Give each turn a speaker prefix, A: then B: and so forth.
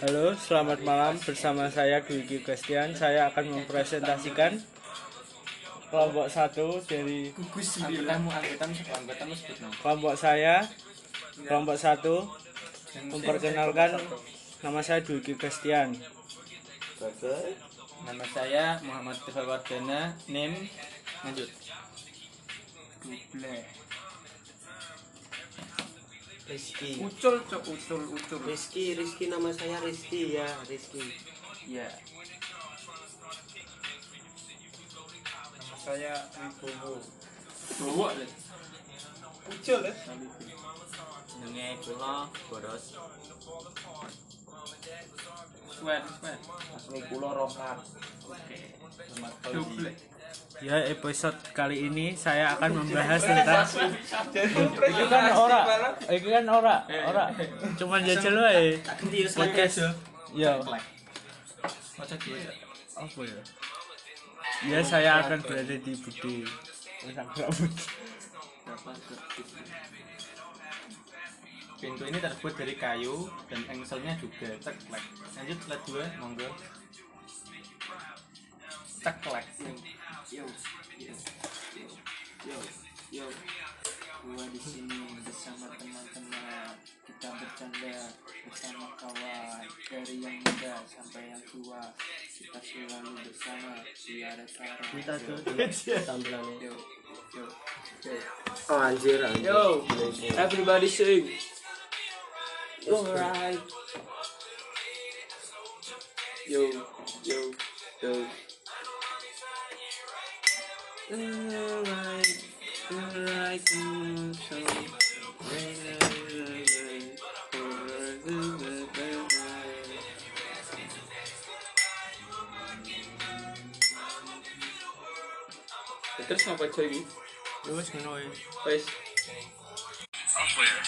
A: Nah, ya.
B: selamat malam bersama saya Dwiki Christian. Saya akan mempresentasikan kelompok satu dari
A: gugus angkotamu angkotamu siapa angkotamu sebut nama
B: kelompok saya. Kelompok satu memperkenalkan nama saya Dwiki Christian.
A: nama saya Muhammad Tifal Wardana name lanjut
C: Duble.
D: Rizky
C: Ucul cok ucul ucul.
D: Rizky Rizky nama saya Rizky ya Rizky
C: Ya. Nama saya Wibowo.
A: Bowo
C: Ucul ya?
A: jenenge kula boros Sweat, sweat.
C: Asli kulo rokat.
A: Oke.
C: Duble.
B: Ya episode kali ini saya akan membahas tentang Iki kan ora, iki kan ora, ora. Cuman jajal wae.
A: Tak ganti terus
B: Podcast. Ya,
A: Maca dua. Cok.
B: apa ya? Ya saya akan berada di Budi. Orang rambut.
A: Dapat kredit. Pintu ini terbuat dari kayu dan engselnya juga ceklek. Lanjut slide dua, monggo. Ceklek.
C: Yo. Yo. Yo. Yo. Gua di sini bersama teman-teman. Kita bercanda bersama kawan dari yang muda sampai yang tua. Kita selalu bersama tiada sarang.
D: kita tuh tampilannya
C: Yo. Yo. Yo.
D: oh anjir anjir
C: Yo. Everybody sing.
D: alright
C: Yo. Yo. Yo.
D: alright alright mm, so
C: Terus ngapa coy?
B: Terus ngono wae.
C: Wes.